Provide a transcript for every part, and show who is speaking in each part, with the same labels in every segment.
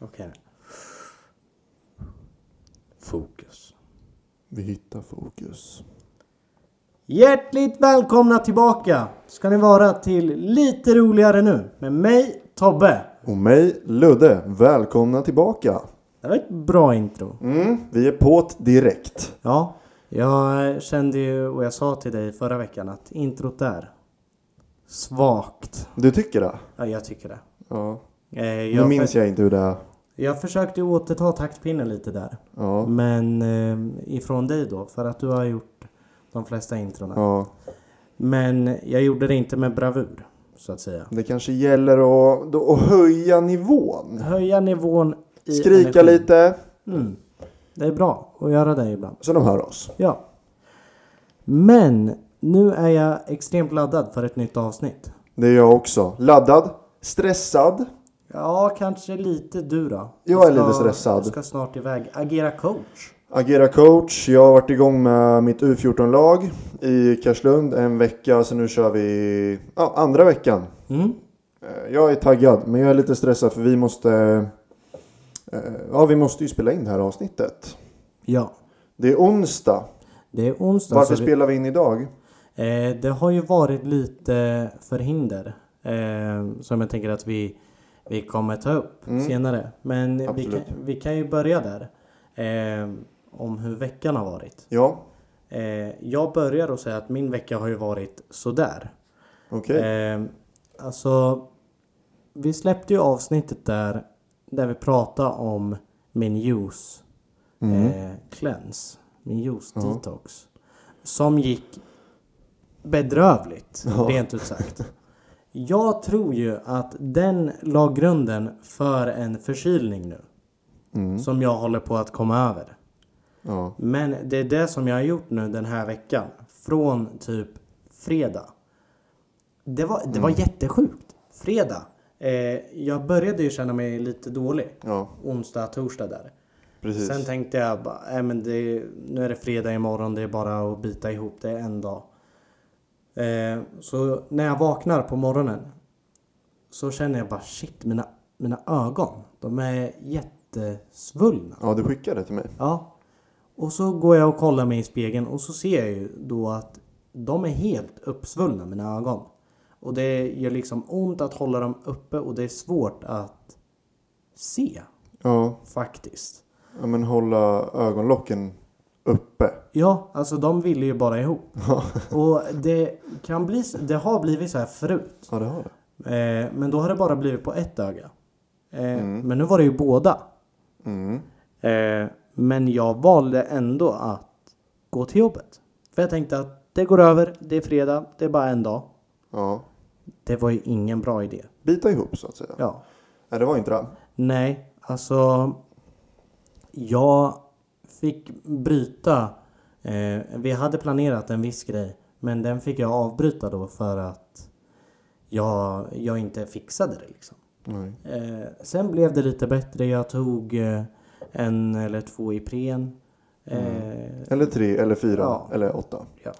Speaker 1: Okej. Fokus.
Speaker 2: Vi hittar fokus.
Speaker 1: Hjärtligt välkomna tillbaka ska ni vara till lite roligare nu med mig Tobbe.
Speaker 2: Och mig, Ludde. Välkomna tillbaka.
Speaker 1: Det var ett bra intro.
Speaker 2: Mm, vi är på't direkt.
Speaker 1: Ja, jag kände ju och jag sa till dig förra veckan att introt där. Svagt.
Speaker 2: Du tycker det?
Speaker 1: Ja, jag tycker det.
Speaker 2: Ja.
Speaker 1: Eh,
Speaker 2: Nu
Speaker 1: Jag,
Speaker 2: minns
Speaker 1: för,
Speaker 2: jag inte hur det är.
Speaker 1: jag försökte ju återta taktpinnen lite där.
Speaker 2: Ja.
Speaker 1: Men eh, ifrån dig då, för att du har gjort de flesta introna.
Speaker 2: ja.
Speaker 1: Men jag gjorde det inte med bravur, så att säga.
Speaker 2: Det kanske gäller att, då, att höja nivån.
Speaker 1: Höja nivån i
Speaker 2: Skrika
Speaker 1: energi.
Speaker 2: lite
Speaker 1: Mm. Det är bra att göra det ibland.
Speaker 2: så de hör oss.
Speaker 1: Ja. Men nu är jag extremt laddad för ett nytt avsnitt.
Speaker 2: Det är jag också. Laddad, stressad.
Speaker 1: Ja, kanske lite du då.
Speaker 2: Jag är
Speaker 1: Du ska-
Speaker 2: lite stressad.
Speaker 1: Du ska snart iväg. Agera coach.
Speaker 2: Agera coach. Jag har varit igång med mitt U14-lag i Karlslund en vecka. Så nu kör vi ja, andra veckan.
Speaker 1: Mm.
Speaker 2: Eh, Jag är taggad, men jag är lite stressad för vi måste... eh, Ja, vi måste ju spela in det här avsnittet.
Speaker 1: Ja. Det,
Speaker 2: Det är onsdag.
Speaker 1: är onsdag.
Speaker 2: Varför
Speaker 1: så vi-
Speaker 2: spelar vi in idag?
Speaker 1: Eh, det har ju varit lite förhinder eh, som jag tänker att vi, vi kommer ta upp senare. Men vi kan,
Speaker 2: Absolut.
Speaker 1: vi kan ju börja där. Eh, om hur veckan har varit.
Speaker 2: Ja,
Speaker 1: Eh, jag börjar och säga att min vecka har ju varit sådär.
Speaker 2: okej.
Speaker 1: Eh, alltså, vi släppte ju avsnittet där, där vi pratade om min juice eh, cleanse, min juice detox. Som gick bedrövligt, rent ut sagt. Jag tror ju att den la grunden för en förkylning nu. Som jag håller på att komma över.
Speaker 2: Ja.
Speaker 1: Men det är det som jag har gjort nu den här veckan. Från typ fredag. Det var, det var
Speaker 2: Mm.
Speaker 1: jättesjukt. Fredag. Eh, jag började ju känna mig lite dålig.
Speaker 2: ja,
Speaker 1: Onsdag, torsdag där.
Speaker 2: precis.
Speaker 1: Sen tänkte jag bara, "Nej, men det, nu är det fredag imorgon. Det är bara att bita ihop det en dag. Eh, så när jag vaknar på morgonen. Så känner jag bara shit, mina, mina ögon. De är jättesvullna.
Speaker 2: Ja, du skickade det till mig.
Speaker 1: Ja. Och så går jag och kollar mig i spegeln och så ser jag ju då att de är helt uppsvullna mina ögon. Och det gör liksom ont att hålla dem uppe och det är svårt att se
Speaker 2: Ja,
Speaker 1: faktiskt.
Speaker 2: ja men hålla ögonlocken uppe.
Speaker 1: Ja, alltså de ville ju bara ihop. och det kan bli, så- det har blivit så här förut.
Speaker 2: Ja, det har det.
Speaker 1: Eh, men då har det bara blivit på ett öga. Eh, Men nu var det ju båda.
Speaker 2: Mm.
Speaker 1: Eh, men jag valde ändå att gå till jobbet. För jag tänkte att det går över, det är fredag, det är bara en dag.
Speaker 2: Ja.
Speaker 1: Det var ju ingen bra idé.
Speaker 2: Bita ihop så att säga.
Speaker 1: Ja.
Speaker 2: Ja. Nej, det var inte det.
Speaker 1: Nej, alltså. Jag fick bryta. Eh, vi hade planerat en viss grej. Men den fick jag avbryta då för att jag, jag inte fixade det liksom.
Speaker 2: Nej.
Speaker 1: Eh, sen blev det lite bättre. Jag tog eh, en eller två Ipren. Eh,
Speaker 2: Eller tre, eller fyra,
Speaker 1: Ja.
Speaker 2: eller åtta.
Speaker 1: Ja.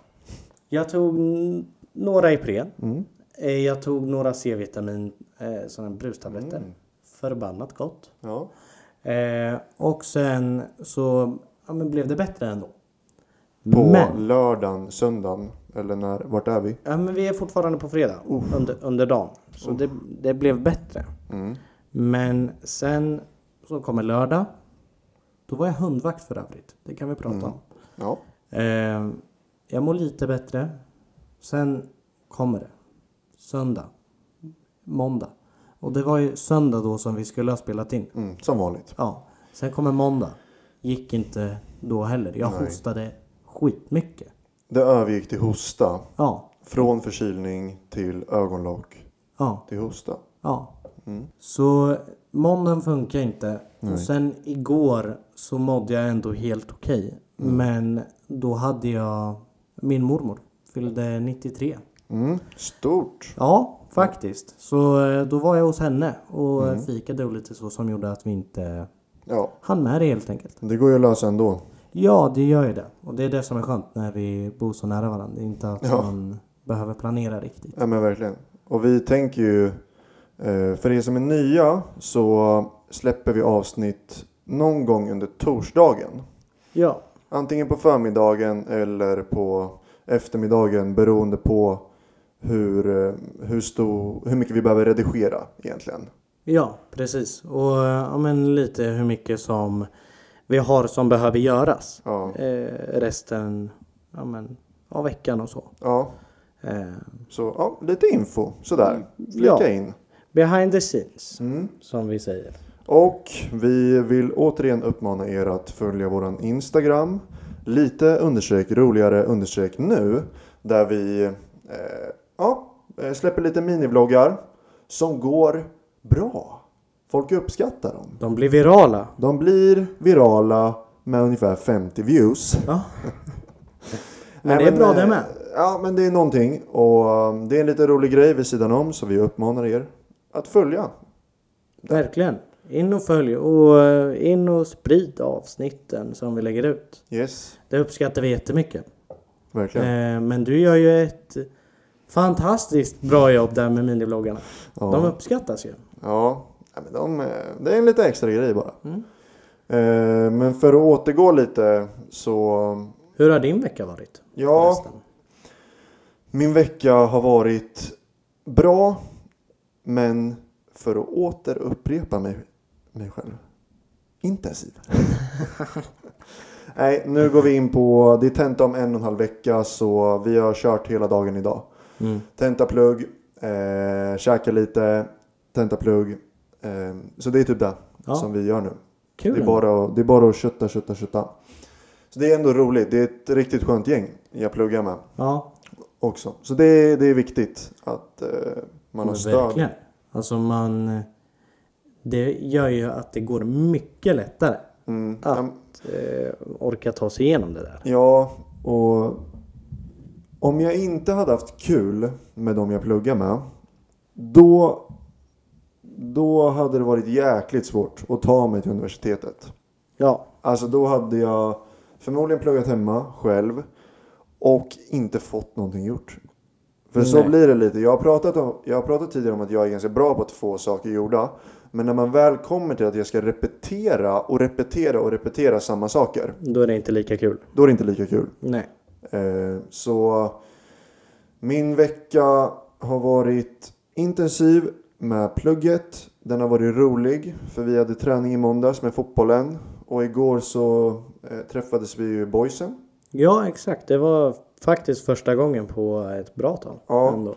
Speaker 1: Jag tog n- några Ipren.
Speaker 2: Mm.
Speaker 1: Eh, Jag tog några C-vitamin, eh, sådana här brustabletter. Förbannat gott.
Speaker 2: Ja.
Speaker 1: Eh, och sen så ja, men blev det bättre ändå.
Speaker 2: På
Speaker 1: Men,
Speaker 2: lördagen, söndagen, eller när, vart är vi?
Speaker 1: ja, men vi är fortfarande på fredag under, under dagen. Så det, det blev bättre.
Speaker 2: Mm.
Speaker 1: Men sen så kommer lördag. Då var jag hundvakt för övrigt. Det kan vi prata om.
Speaker 2: Ja.
Speaker 1: Eh, jag mår lite bättre. Sen kommer det. Söndag. Måndag. Och det var ju söndag då som vi skulle ha spelat in.
Speaker 2: Mm, som vanligt.
Speaker 1: Ja. Sen kommer måndag. Gick inte då heller. Jag
Speaker 2: Nej.
Speaker 1: hostade skitmycket.
Speaker 2: Det övergick till hosta.
Speaker 1: Ja.
Speaker 2: Från förkylning till ögonlock
Speaker 1: Ja.
Speaker 2: till hosta.
Speaker 1: Ja. Så måndagen funkar inte. Och sen igår så mådde jag ändå helt okej. Men då hade jag min mormor. Fyllde 93.
Speaker 2: Mm. Stort.
Speaker 1: Ja, faktiskt. Så eh, då var jag hos henne och mm. fikade och lite så som gjorde att vi inte
Speaker 2: Ja,
Speaker 1: hann med det helt enkelt.
Speaker 2: det går ju att lösa ändå.
Speaker 1: Ja, det gör ju det. Och det är det som är skönt när vi bor så nära varandra. Det är inte att man behöver planera riktigt.
Speaker 2: Ja men verkligen. Och vi tänker ju Eh, För er som är nya så släpper vi avsnitt någon gång under torsdagen.
Speaker 1: Ja,
Speaker 2: Antingen på förmiddagen eller på eftermiddagen beroende på hur, eh, hur, stor, hur mycket vi behöver redigera egentligen.
Speaker 1: ja precis. Och eh, ja, men lite hur mycket som vi har som behöver göras.
Speaker 2: Ja,
Speaker 1: Eh, resten ja, men, av veckan och så.
Speaker 2: ja.
Speaker 1: Eh,
Speaker 2: så ja, lite info sådär. Flika
Speaker 1: Mm, Ja.
Speaker 2: in.
Speaker 1: behind the scenes,
Speaker 2: Mm.
Speaker 1: som vi säger.
Speaker 2: Och vi vill återigen uppmana er att följa våran Instagram. Lite undersök roligare undersök nu. Där vi eh, ja, eh, släpper lite minivloggar som går bra. Folk uppskattar dem.
Speaker 1: De blir virala.
Speaker 2: De blir virala med ungefär 50 views.
Speaker 1: Ja. Men
Speaker 2: Nej,
Speaker 1: det är bra det
Speaker 2: eh,
Speaker 1: med.
Speaker 2: Ja, men det är någonting. Och eh, det är en lite rolig grej vid sidan om så vi uppmanar er att följa.
Speaker 1: Verkligen. In och följ och eh, in och sprid avsnitten som vi lägger ut.
Speaker 2: Yes,
Speaker 1: Det uppskattar vi jättemycket.
Speaker 2: verkligen.
Speaker 1: Eh, Men du gör ju ett fantastiskt bra jobb där med minibloggarna.
Speaker 2: Ja.
Speaker 1: De uppskattas ju.
Speaker 2: Ja, nej, men de, eh, det är en lite extra grej bara.
Speaker 1: Mm.
Speaker 2: Eh, Men för att återgå lite så
Speaker 1: Hur har din vecka varit?
Speaker 2: ja,
Speaker 1: förresten?
Speaker 2: min vecka har varit bra. Men för att återupprepa mig, mig själv. Intensiv. nej, nu går vi in på, det är tenta om en och en halv vecka så vi har kört hela dagen idag.
Speaker 1: Mm.
Speaker 2: Tentaplugg, eh, käka lite, tentaplugg. Eh, så det är typ det
Speaker 1: Ja.
Speaker 2: som vi gör nu.
Speaker 1: Kul.
Speaker 2: Det är, bara att, det är bara att kötta, kötta, kötta. Så det är ändå roligt. Det är ett riktigt skönt gäng jag pluggar med
Speaker 1: Ja,
Speaker 2: också. Så det är, det är viktigt att eh, man har
Speaker 1: men
Speaker 2: stöd.
Speaker 1: verkligen. Alltså man... Det gör ju att det går mycket lättare
Speaker 2: Mm.
Speaker 1: Ja.
Speaker 2: Ja.
Speaker 1: att eh, orka ta sig igenom det där.
Speaker 2: ja, och om jag inte hade haft kul med de jag pluggar med. Då, då hade det varit jäkligt svårt att ta mig till universitetet.
Speaker 1: Ja,
Speaker 2: Alltså då hade jag förmodligen pluggat hemma själv och inte fått någonting gjort. För så
Speaker 1: Nej.
Speaker 2: blir det lite. Jag har, pratat om, jag har pratat tidigare om att jag är ganska bra på att få saker gjorda. Men när man väl kommer till att jag ska repetera och repetera och repetera samma saker.
Speaker 1: då är det inte lika kul.
Speaker 2: Då är det inte lika kul.
Speaker 1: Nej.
Speaker 2: Eh, så min vecka har varit intensiv med plugget. Den har varit rolig för vi hade träning i måndags med fotbollen. Och igår så eh, träffades vi ju boysen.
Speaker 1: Ja, exakt. Det var faktiskt första gången på ett bra tag.
Speaker 2: Ja.
Speaker 1: Ändå.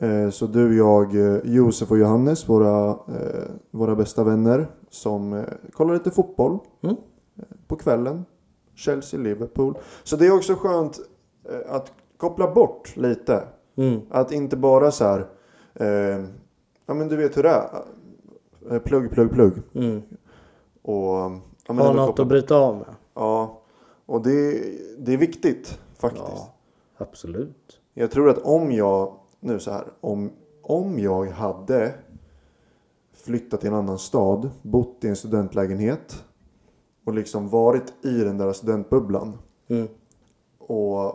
Speaker 2: Eh, så du, jag, eh, Josef och Johannes, våra, eh, våra bästa vänner som eh, kollar lite fotboll
Speaker 1: Mm.
Speaker 2: eh, på kvällen. Chelsea, Liverpool. Så det är också skönt eh, att koppla bort lite
Speaker 1: Mm.
Speaker 2: Att inte bara så här, eh, ja men du vet hur det är. Eh, Plugg, plugg, plugg.
Speaker 1: Mm.
Speaker 2: Och, ja, men
Speaker 1: Ha
Speaker 2: ändå
Speaker 1: något
Speaker 2: koppla-
Speaker 1: att bryta av med.
Speaker 2: Ja, och det, det är viktigt faktiskt.
Speaker 1: Ja, absolut.
Speaker 2: Jag tror att om jag, nu så här, om, om jag hade flyttat till en annan stad, bott i en studentlägenhet och liksom varit i den där studentbubblan
Speaker 1: Mm.
Speaker 2: och,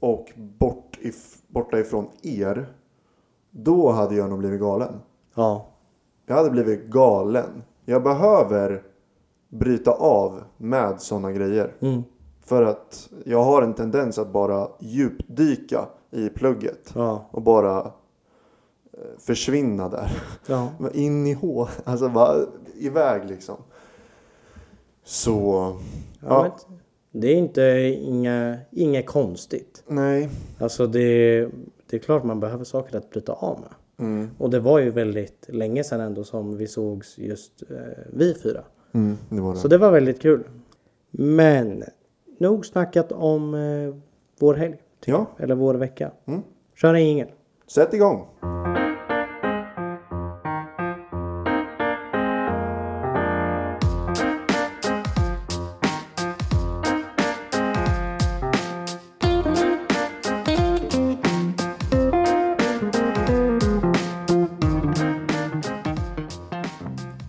Speaker 2: och bort if, borta ifrån er. Då hade jag nog blivit galen.
Speaker 1: Ja,
Speaker 2: Jag hade blivit galen. Jag behöver bryta av med sådana grejer.
Speaker 1: Mm.
Speaker 2: För att jag har en tendens att bara djupdyka i plugget.
Speaker 1: ja,
Speaker 2: Och bara eh, försvinna där.
Speaker 1: ja.
Speaker 2: Men In i H. Alltså bara iväg liksom. Så
Speaker 1: ja.
Speaker 2: Ja.
Speaker 1: men det är inte inga, inget konstigt.
Speaker 2: nej.
Speaker 1: Alltså det, det är klart man behöver saker att bryta av med.
Speaker 2: Mm.
Speaker 1: Och det var ju väldigt länge sedan ändå som vi sågs just eh, vi fyra.
Speaker 2: Mm, det var det.
Speaker 1: Så det var väldigt kul. Men nog snackat om eh, vår helg. typ.
Speaker 2: Ja.
Speaker 1: Eller vår vecka.
Speaker 2: Mm.
Speaker 1: Kör en jingel.
Speaker 2: Sätt igång!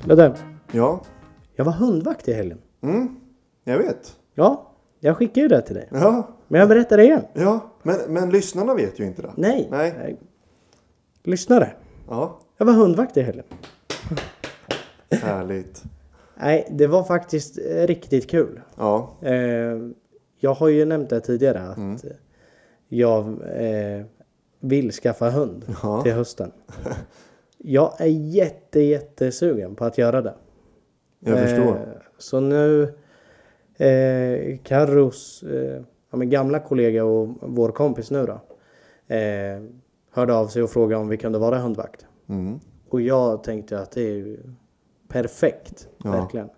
Speaker 1: Ludde,
Speaker 2: Ja,
Speaker 1: jag var hundvakt i helgen.
Speaker 2: mm, jag vet.
Speaker 1: Ja, jag skickade ju det till dig.
Speaker 2: Ja,
Speaker 1: Men jag berättar det igen.
Speaker 2: ja. Men, men lyssnarna vet ju inte det.
Speaker 1: Nej.
Speaker 2: Nej.
Speaker 1: Lyssnare.
Speaker 2: Ja,
Speaker 1: Jag var hundvakt i helgen.
Speaker 2: härligt.
Speaker 1: Nej, det var faktiskt eh, riktigt kul.
Speaker 2: Ja,
Speaker 1: Eh, jag har ju nämnt det tidigare att jag eh, vill skaffa hund
Speaker 2: Ja.
Speaker 1: till hösten. Jag är jätte, jättesugen på att göra det.
Speaker 2: jag förstår.
Speaker 1: Eh, så nu eh, Carros eh, ja, men gamla kollega och vår kompis nu då. Eh, hörde av sig och frågade om vi kunde vara hundvakt.
Speaker 2: Mm.
Speaker 1: Och jag tänkte att det är ju perfekt.
Speaker 2: Ja.
Speaker 1: Verkligen.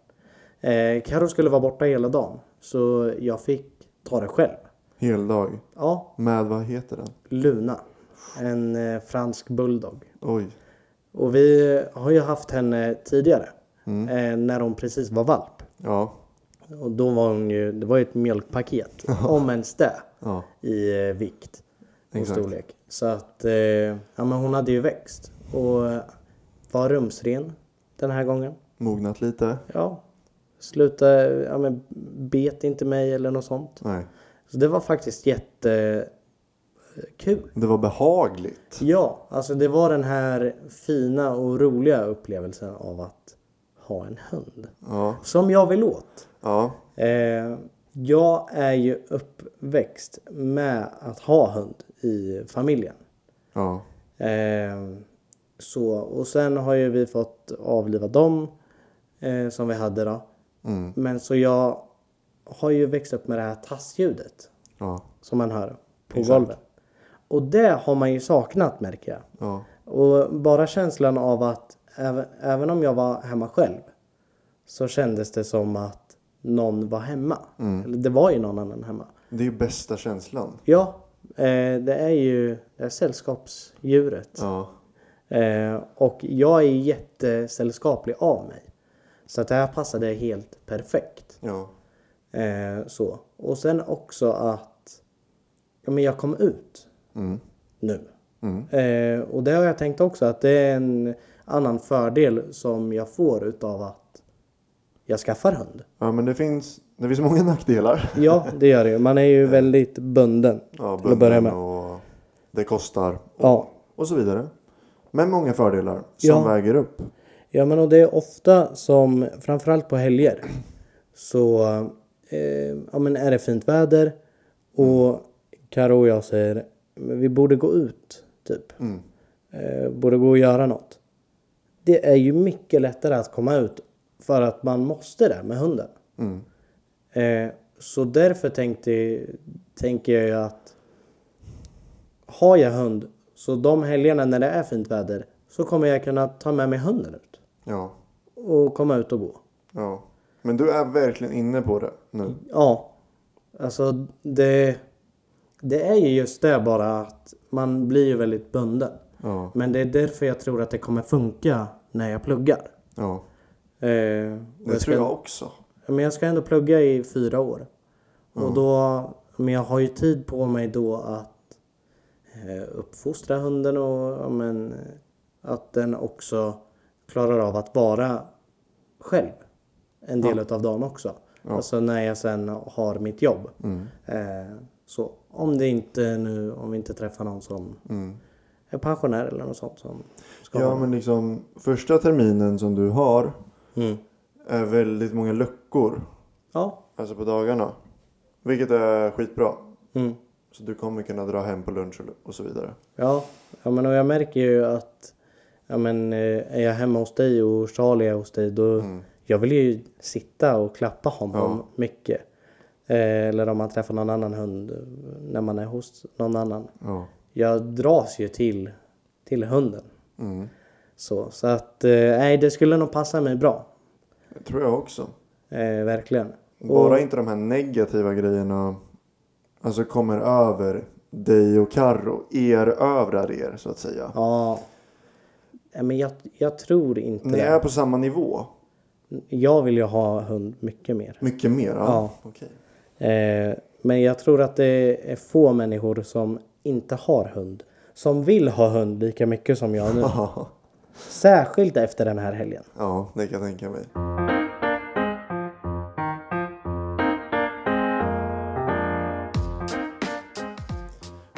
Speaker 1: Eh, Karo skulle vara borta hela dagen. Så jag fick ta det själv.
Speaker 2: Heldag.
Speaker 1: Ja,
Speaker 2: Med vad heter den?
Speaker 1: Luna. En eh, fransk bulldog.
Speaker 2: Oj.
Speaker 1: Och vi har ju haft henne tidigare. Eh, när hon precis var valp.
Speaker 2: Ja,
Speaker 1: Och då var hon ju, det var ju ett mjölkpaket. om ens det.
Speaker 2: ja,
Speaker 1: I eh, vikt. Och
Speaker 2: Exakt.
Speaker 1: storlek. Så att, eh, ja men hon hade ju växt. Och eh, var rumsren den här gången.
Speaker 2: mognat lite.
Speaker 1: Ja. Sluta, ja men bet inte mig eller något sånt.
Speaker 2: Nej,
Speaker 1: Så det var faktiskt jättekul.
Speaker 2: det var behagligt.
Speaker 1: Ja, alltså det var den här fina och roliga upplevelsen av att ha en hund.
Speaker 2: Ja,
Speaker 1: Som jag vill åt.
Speaker 2: ja,
Speaker 1: Eh, jag är ju uppväxt med att ha hund i familjen.
Speaker 2: ja,
Speaker 1: Eh, så, och sen har ju vi fått avliva dem eh, som vi hade då.
Speaker 2: mm,
Speaker 1: Men så jag har ju växt upp med det här tassljudet
Speaker 2: ja,
Speaker 1: som man hör på
Speaker 2: Exakt.
Speaker 1: golvet. Och det har man ju saknat märker jag.
Speaker 2: ja,
Speaker 1: Och bara känslan av att även, även om jag var hemma själv så kändes det som att någon var hemma. Eller det var ju någon annan hemma.
Speaker 2: det är ju bästa känslan.
Speaker 1: Ja, eh, det är ju det här sällskapsdjuret.
Speaker 2: Ja,
Speaker 1: Eh, och jag är jättesällskaplig av mig. Så att det här passade helt perfekt.
Speaker 2: ja,
Speaker 1: Eh, så. Och sen också att ja, men jag kom ut
Speaker 2: mm,
Speaker 1: nu.
Speaker 2: mm,
Speaker 1: Eh, och det har jag tänkt också att det är en annan fördel som jag får utav att jag skaffar hund.
Speaker 2: ja, men det finns, det finns många nackdelar.
Speaker 1: Ja, det gör det ju. Man är ju väldigt bunden.
Speaker 2: Ja,
Speaker 1: Mm. Till att börja med.
Speaker 2: bunden och det kostar
Speaker 1: Ja.
Speaker 2: och så vidare. Men många fördelar som
Speaker 1: Ja.
Speaker 2: väger upp.
Speaker 1: Ja men och det är ofta som, framförallt på helger, så eh, ja, men är det fint väder och Karo och jag säger "Men vi borde gå ut typ.
Speaker 2: Mm.
Speaker 1: Eh, borde gå och göra något. Det är ju mycket lättare att komma ut för att man måste det med hunden.
Speaker 2: Mm.
Speaker 1: Eh, så därför tänkte, tänker jag ju att har jag hund så de helgerna när det är fint väder så kommer jag kunna ta med mig hunden ut
Speaker 2: Ja,
Speaker 1: och komma ut och gå.
Speaker 2: ja. Men du är verkligen inne på det nu.
Speaker 1: Ja, alltså det, det är ju just det bara att man blir ju väldigt bunden.
Speaker 2: Ja,
Speaker 1: Men det är därför jag tror att det kommer funka när jag pluggar.
Speaker 2: ja.
Speaker 1: Eh,
Speaker 2: Det tror jag också.
Speaker 1: Men jag ska ändå plugga i fyra år. Och då, men jag har ju tid på mig då att eh, uppfostra hunden och ja, men, eh, att den också klarar av att vara själv en del av dagen också. Alltså när jag sen har mitt jobb. Eh, så om det inte nu, om vi inte träffar någon som är pensionär eller något sånt som ska
Speaker 2: Ja,
Speaker 1: ha.
Speaker 2: men liksom första terminen som du har
Speaker 1: Mm.
Speaker 2: är väldigt många luckor.
Speaker 1: Ja.
Speaker 2: Alltså på dagarna. Vilket är skitbra.
Speaker 1: Mm.
Speaker 2: Så du kommer kunna dra hem på lunch och- och så vidare.
Speaker 1: Ja, ja men och jag märker ju att ja, men, eh, är jag hemma hos dig och Charlie är hos dig då jag vill ju sitta och klappa honom mycket. Eh, eller om man träffar någon annan hund eh, när man är hos någon annan.
Speaker 2: Ja.
Speaker 1: Jag dras ju till, till hunden.
Speaker 2: Mm.
Speaker 1: Så, så att eh, nej, det skulle nog passa mig bra.
Speaker 2: Det tror jag också.
Speaker 1: Eh, verkligen.
Speaker 2: Bara inte de här negativa grejerna alltså kommer över dig och Karro. Erövrar er så att säga.
Speaker 1: Ja. Nej, Men jag, jag tror inte
Speaker 2: Ni
Speaker 1: det.
Speaker 2: är på samma nivå.
Speaker 1: Jag vill ju ha hund mycket mer.
Speaker 2: Mycket mer? Ja. Okej.
Speaker 1: Eh, men jag tror att det är få människor som inte har hund. Som vill ha hund lika mycket som jag nu. Särskilt efter den här helgen.
Speaker 2: Ja, det kan jag tänka mig.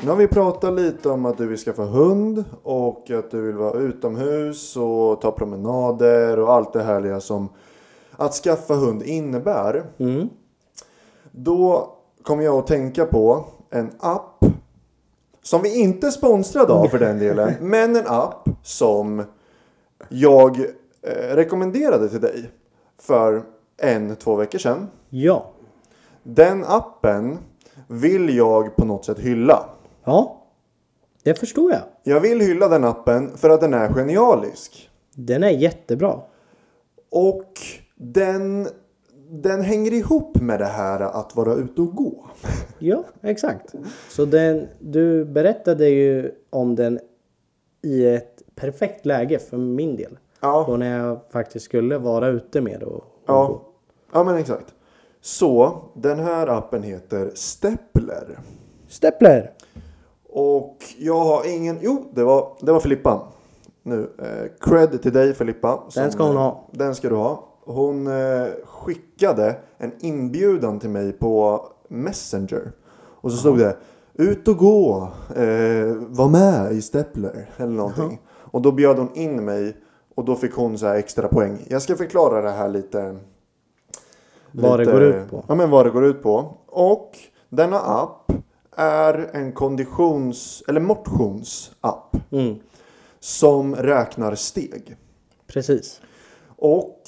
Speaker 2: Nu har vi pratat lite om att du vill skaffa hund och att du vill vara utomhus och ta promenader och allt det härliga som att skaffa hund innebär.
Speaker 1: Mm.
Speaker 2: Då kommer jag att tänka på en app som vi inte är sponsrade av för den delen, men en app som jag eh, rekommenderade till dig för en, två veckor sedan.
Speaker 1: Ja.
Speaker 2: Den appen vill jag på något sätt hylla.
Speaker 1: Ja. Det förstår jag.
Speaker 2: Jag vill hylla den appen för att den är genialisk.
Speaker 1: Den är jättebra.
Speaker 2: Och den, den hänger ihop med det här att vara ute och gå.
Speaker 1: Ja, exakt. Så den, du berättade ju om den i ett perfekt läge för min del.
Speaker 2: Ja,
Speaker 1: Och när jag faktiskt skulle vara ute med och, och
Speaker 2: ja. ja men exakt. Så den här appen heter Stepler.
Speaker 1: Steppler!
Speaker 2: Och jag har ingen... Jo, det var, det var Filippa. Nu, eh, cred till dig Filippa. som- eh,
Speaker 1: ska hon ha.
Speaker 2: Den ska du ha. Hon eh, skickade en inbjudan till mig på Messenger. Och så stod det ut och gå, eh, var med i Stepler eller någonting. Och då bjöd hon in mig och då fick hon så här extra poäng. Jag ska förklara det här lite
Speaker 1: Vad det
Speaker 2: lite-
Speaker 1: går ut på.
Speaker 2: Ja, men vad det går ut på. Och denna app är en konditions eller motionsapp
Speaker 1: Mm,
Speaker 2: som räknar steg.
Speaker 1: precis.
Speaker 2: Och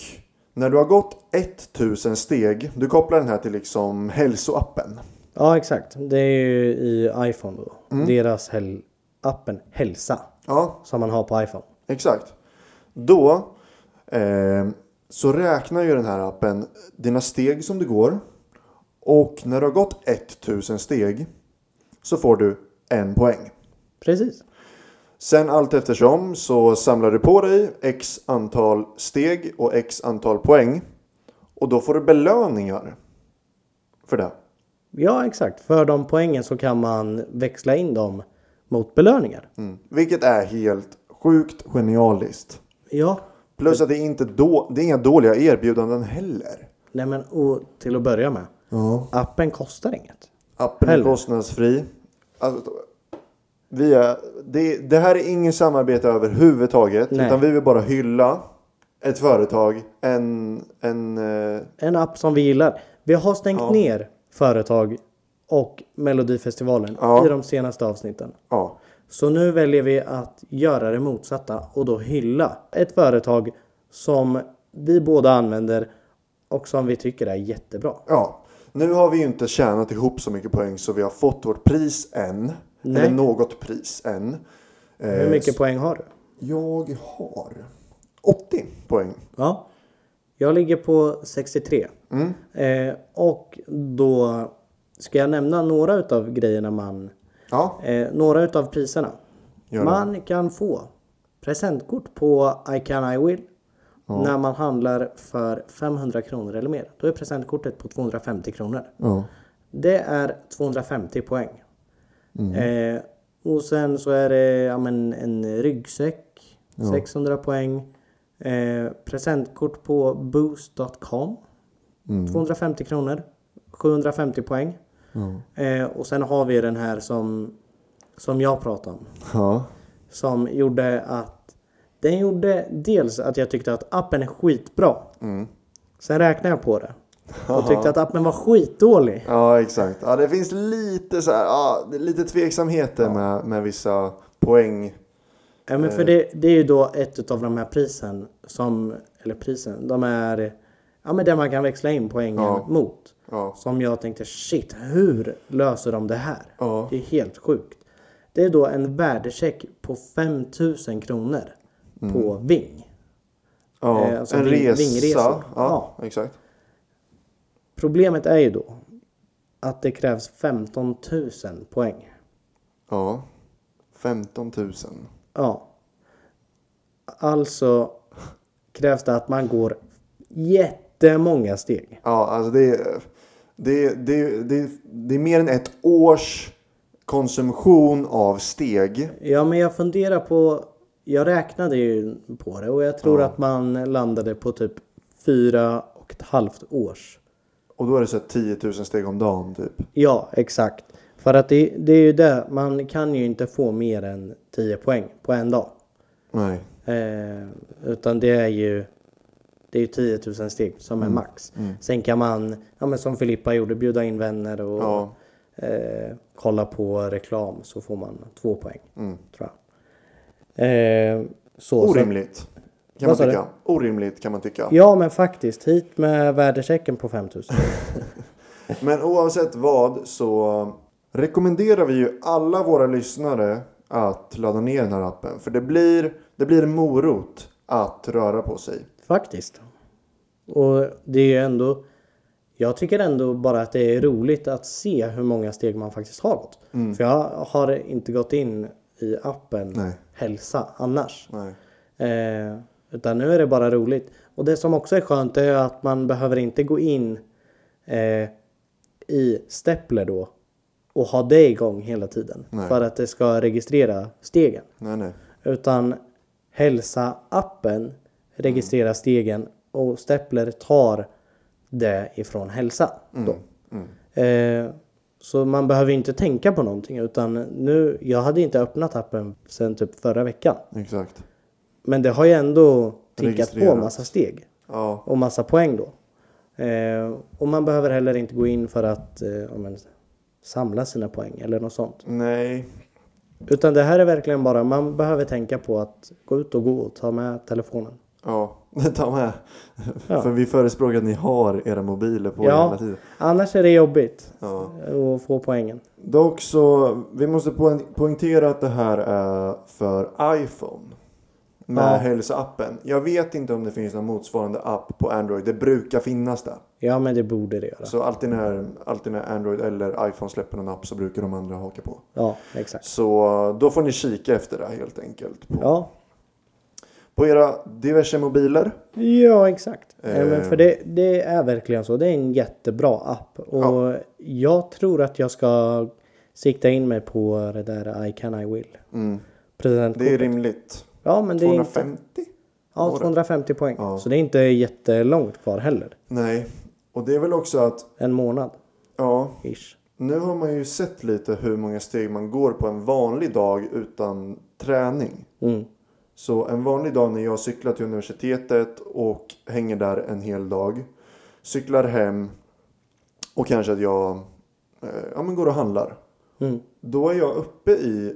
Speaker 2: när du har gått 1000 steg, du kopplar den här till liksom hälsoappen.
Speaker 1: Ja, exakt. Det är ju i iPhone då.
Speaker 2: Mm.
Speaker 1: Deras hel- appen Hälsa
Speaker 2: Ja,
Speaker 1: som man har på iPhone.
Speaker 2: exakt. Då eh, så räknar ju den här appen dina steg som du går. Och när du har gått 1000 steg så får du en poäng.
Speaker 1: Precis.
Speaker 2: Sen allt eftersom så samlar du på dig x antal steg och x antal poäng. Och då får du belöningar för det.
Speaker 1: Ja, exakt. För de poängen så kan man växla in dem mot belöningar.
Speaker 2: Mm. Vilket är helt sjukt genialiskt.
Speaker 1: Ja.
Speaker 2: Plus att det är, inte då, det är inga dåliga erbjudanden heller.
Speaker 1: Nej, men och till att börja med.
Speaker 2: Ja.
Speaker 1: Appen kostar inget.
Speaker 2: Appen är
Speaker 1: Heller.
Speaker 2: kostnadsfri. Alltså, vi är, det, det här är ingen samarbete överhuvudtaget.
Speaker 1: Nej.
Speaker 2: Utan vi vill bara hylla ett företag. En, en, eh,
Speaker 1: En app som vi gillar. Vi har stängt ner företag och Melodifestivalen
Speaker 2: Ja.
Speaker 1: i de senaste avsnitten.
Speaker 2: ja.
Speaker 1: Så nu väljer vi att göra det motsatta och då hylla ett företag som vi båda använder och som vi tycker är jättebra.
Speaker 2: Ja, nu har vi ju inte tjänat ihop så mycket poäng så vi har fått vårt pris än.
Speaker 1: Nej.
Speaker 2: Eller något pris än.
Speaker 1: Hur
Speaker 2: Eh,
Speaker 1: mycket poäng har du?
Speaker 2: jag har 80 poäng.
Speaker 1: Ja. Jag ligger på 63. Eh, och då ska jag nämna några utav grejerna man...
Speaker 2: Ja,
Speaker 1: Eh, några utav priserna.
Speaker 2: Gör det.
Speaker 1: man kan få presentkort på I can I will. När man handlar för 500 kronor eller mer. Då är presentkortet på 250 kronor.
Speaker 2: ja.
Speaker 1: Det är 250 poäng. Eh, och sen så är det ja, men en ryggsäck. 600 poäng. Eh, presentkort på boost.com. 250 kronor. 750 poäng. Eh, och sen har vi den här som, som jag pratade om.
Speaker 2: ja.
Speaker 1: Som gjorde att... Den gjorde dels att jag tyckte att appen är skitbra. Sen räknade jag på det. Och tyckte att appen var skitdålig.
Speaker 2: ja exakt. Ja, det finns lite så här, ja, det är lite tveksamheter med, med vissa poäng.
Speaker 1: Ja, men
Speaker 2: Eh.
Speaker 1: för det, det är ju då ett av de här prisen som, eller prisen, de är, ja men där man kan växla in poängen
Speaker 2: Ja.
Speaker 1: mot.
Speaker 2: Ja.
Speaker 1: Som jag tänkte, shit, hur löser de det här?
Speaker 2: Ja.
Speaker 1: Det är helt sjukt. Det är då en värdecheck på 5000 kronor på
Speaker 2: Mm.
Speaker 1: Ving.
Speaker 2: Ja.
Speaker 1: Eh, alltså
Speaker 2: en
Speaker 1: ving-
Speaker 2: resa.
Speaker 1: vingresor.
Speaker 2: Ja, exakt.
Speaker 1: Problemet är ju då att det krävs 15 000 poäng.
Speaker 2: Ja. 15 000.
Speaker 1: Ja. Alltså krävs det att man går jättemånga steg.
Speaker 2: Ja, alltså det är, det, är- det, är- det, är- det är mer än ett års konsumtion av steg.
Speaker 1: Ja, men jag funderar på... Jag räknade ju på det och jag tror att man landade på typ fyra och ett halvt års.
Speaker 2: Och då är det så här 10 000 steg om dagen typ.
Speaker 1: Ja, exakt. För att det, det är ju det, man kan ju inte få mer än 10 poäng på en dag.
Speaker 2: Nej.
Speaker 1: Eh, utan det är ju det är ju 10 000 steg som är max.
Speaker 2: Mm.
Speaker 1: Sen kan man, ja, men som Filippa gjorde, bjuda in vänner och
Speaker 2: Ja.
Speaker 1: eh, kolla på reklam så får man två poäng.
Speaker 2: Mm.
Speaker 1: Tror jag. Eh, så,
Speaker 2: Orimligt. Kan man
Speaker 1: Vad sa du?
Speaker 2: tycka. Orimligt kan man tycka.
Speaker 1: Så, ja men faktiskt, hit med värdechecken på 5 000.
Speaker 2: Men oavsett vad så rekommenderar vi ju alla våra lyssnare att ladda ner den här appen. För det blir, det blir en morot att röra på sig.
Speaker 1: Faktiskt. Och det är ju ändå... Jag tycker ändå bara att det är roligt att se hur många steg man faktiskt har gått. För jag har inte gått in i appen
Speaker 2: Nej.
Speaker 1: hälsa annars.
Speaker 2: Nej.
Speaker 1: Eh, utan nu är det bara roligt. Och det som också är skönt är att man behöver inte gå in eh, i Stepler då och ha det igång hela tiden.
Speaker 2: Nej.
Speaker 1: För att det ska registrera stegen.
Speaker 2: Nej, nej.
Speaker 1: Utan Hälsa-appen registrerar stegen och Stepler tar det ifrån Hälsa. Då. Eh, så man behöver ju inte tänka på någonting utan nu, jag hade inte öppnat appen sen typ förra veckan.
Speaker 2: Exakt.
Speaker 1: Men det har ju ändå tickat på
Speaker 2: Registrerat.
Speaker 1: massa steg
Speaker 2: Ja.
Speaker 1: och massa poäng då. Eh, och man behöver heller inte gå in för att eh, ja, men, samla sina poäng eller något sånt.
Speaker 2: Nej.
Speaker 1: Utan det här är verkligen bara, man behöver tänka på att gå ut och gå och ta med telefonen.
Speaker 2: Ja. Ta med.
Speaker 1: Ja.
Speaker 2: För vi förespråkar att ni har era mobiler på er
Speaker 1: Ja.
Speaker 2: hela tiden.
Speaker 1: Annars är det jobbigt
Speaker 2: Ja.
Speaker 1: att få poängen.
Speaker 2: Dock så, vi måste poäng- poängtera att det här är för iPhone. Med
Speaker 1: Ja.
Speaker 2: hälsoappen. Jag vet inte om det finns någon motsvarande app på Android. Det brukar finnas det.
Speaker 1: Ja men det borde det göra.
Speaker 2: Så alltid när, alltid när Android eller iPhone släpper någon app så brukar de andra haka på.
Speaker 1: Ja exakt.
Speaker 2: Så då får ni kika efter det helt enkelt. På,
Speaker 1: Ja,
Speaker 2: på era diverse mobiler.
Speaker 1: ja exakt. Nej, men
Speaker 2: Eh.
Speaker 1: för det, det är verkligen så. Det är en jättebra app. Och jag tror att jag ska sikta in mig på det där I can I will.
Speaker 2: Mm.
Speaker 1: Presentkort.
Speaker 2: Det är rimligt.
Speaker 1: Ja men det är inte,
Speaker 2: 250?
Speaker 1: ja, 250 poäng.
Speaker 2: Ja.
Speaker 1: Så det är inte jättelångt kvar heller.
Speaker 2: Nej. Och det är väl också att,
Speaker 1: En månad
Speaker 2: ja.
Speaker 1: ish.
Speaker 2: Nu har man ju sett lite hur många steg man går på en vanlig dag utan träning.
Speaker 1: Mm.
Speaker 2: Så en vanlig dag när jag cyklar till universitetet och hänger där en hel dag. Cyklar hem och kanske att jag eh, ja, men går och handlar.
Speaker 1: Mm.
Speaker 2: Då är jag uppe i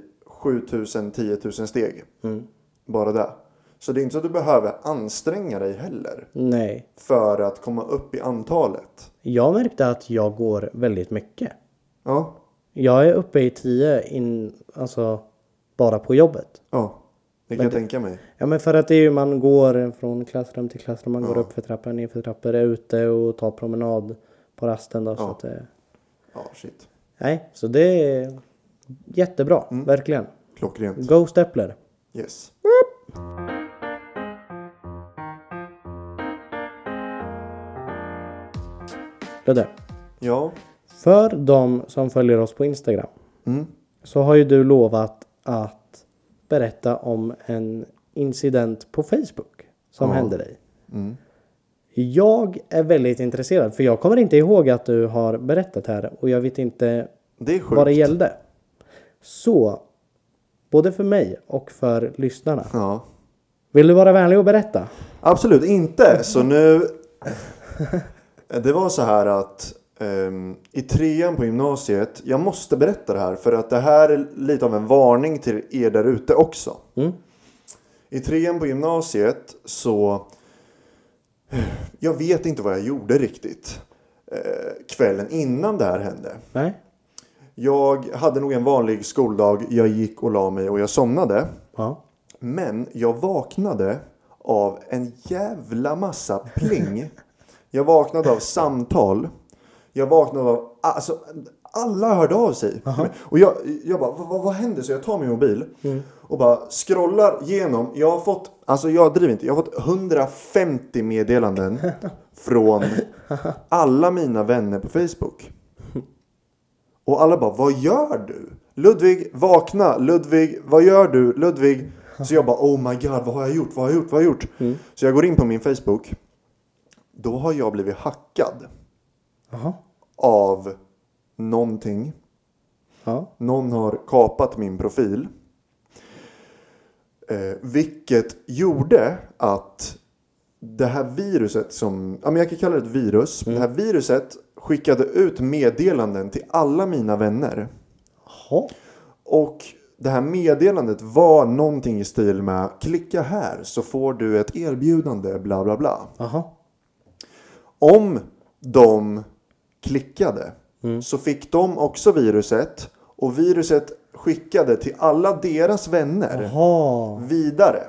Speaker 2: 7000-10 000 steg.
Speaker 1: Mm.
Speaker 2: Bara det. Så det är inte så att du behöver anstränga dig heller.
Speaker 1: Nej.
Speaker 2: För att komma upp i antalet.
Speaker 1: Jag märkte att jag går väldigt mycket.
Speaker 2: Ja,
Speaker 1: Jag är uppe i 10 in, alltså bara på jobbet.
Speaker 2: ja. det kan jag tänka mig.
Speaker 1: Ja men för att det är ju man går från klassrum till klassrum, man går upp för trappor, ner för trappor, är ute och tar promenad på rasten då. Så att det,
Speaker 2: Ja, shit.
Speaker 1: nej, så det är jättebra, verkligen.
Speaker 2: Klockrent.
Speaker 1: Go Stepler!
Speaker 2: Yes.
Speaker 1: Ludde,
Speaker 2: Ja.
Speaker 1: för de som följer oss på Instagram
Speaker 2: Mm.
Speaker 1: så har ju du lovat att berätta om en incident på Facebook som
Speaker 2: Ja.
Speaker 1: hände dig.
Speaker 2: Mm.
Speaker 1: Jag är väldigt intresserad för jag kommer inte ihåg att du har berättat här och jag vet inte
Speaker 2: Det är sjukt.
Speaker 1: vad det gällde. Så, både för mig och för lyssnarna.
Speaker 2: Ja.
Speaker 1: Vill du vara vänlig och berätta?
Speaker 2: Absolut inte. Så nu... Det var så här att ehm, i trean på gymnasiet, jag måste berätta det här för att det här är lite av en varning till er där ute också.
Speaker 1: Mm.
Speaker 2: I trean på gymnasiet så... Jag vet inte vad jag gjorde riktigt eh, kvällen innan det här hände.
Speaker 1: Nej?
Speaker 2: Jag hade nog en vanlig skoldag, jag gick och la mig och jag somnade.
Speaker 1: Ja.
Speaker 2: Men jag vaknade av en jävla massa pling. Jag vaknade av samtal. Jag vaknade av... Alltså, alla hörde av sig. Och jag, jag bara, vad, vad, vad händer? Så jag tar min mobil och bara scrollar igenom. Jag har fått, alltså jag driver inte, jag har fått 150 meddelanden från alla mina vänner på Facebook. Och alla bara, vad gör du? Ludvig, vakna! Ludvig, vad gör du? Ludvig! Så jag bara, oh my god, vad har jag gjort? Vad har jag gjort? Vad har jag gjort? Så jag går in på min Facebook. Då har jag blivit hackad
Speaker 1: Jaha.
Speaker 2: av någonting. Ja. Någon har kapat min profil. Eh, vilket gjorde att det här viruset som, ja men jag kan kalla det ett virus. Det här viruset skickade ut meddelanden till alla mina vänner.
Speaker 1: Jaha.
Speaker 2: Och det här meddelandet var någonting i stil med klicka här så får du ett erbjudande bla bla bla.
Speaker 1: Jaha.
Speaker 2: Om de klickade så fick de också viruset och viruset skickade till alla deras vänner
Speaker 1: Jaha.
Speaker 2: vidare.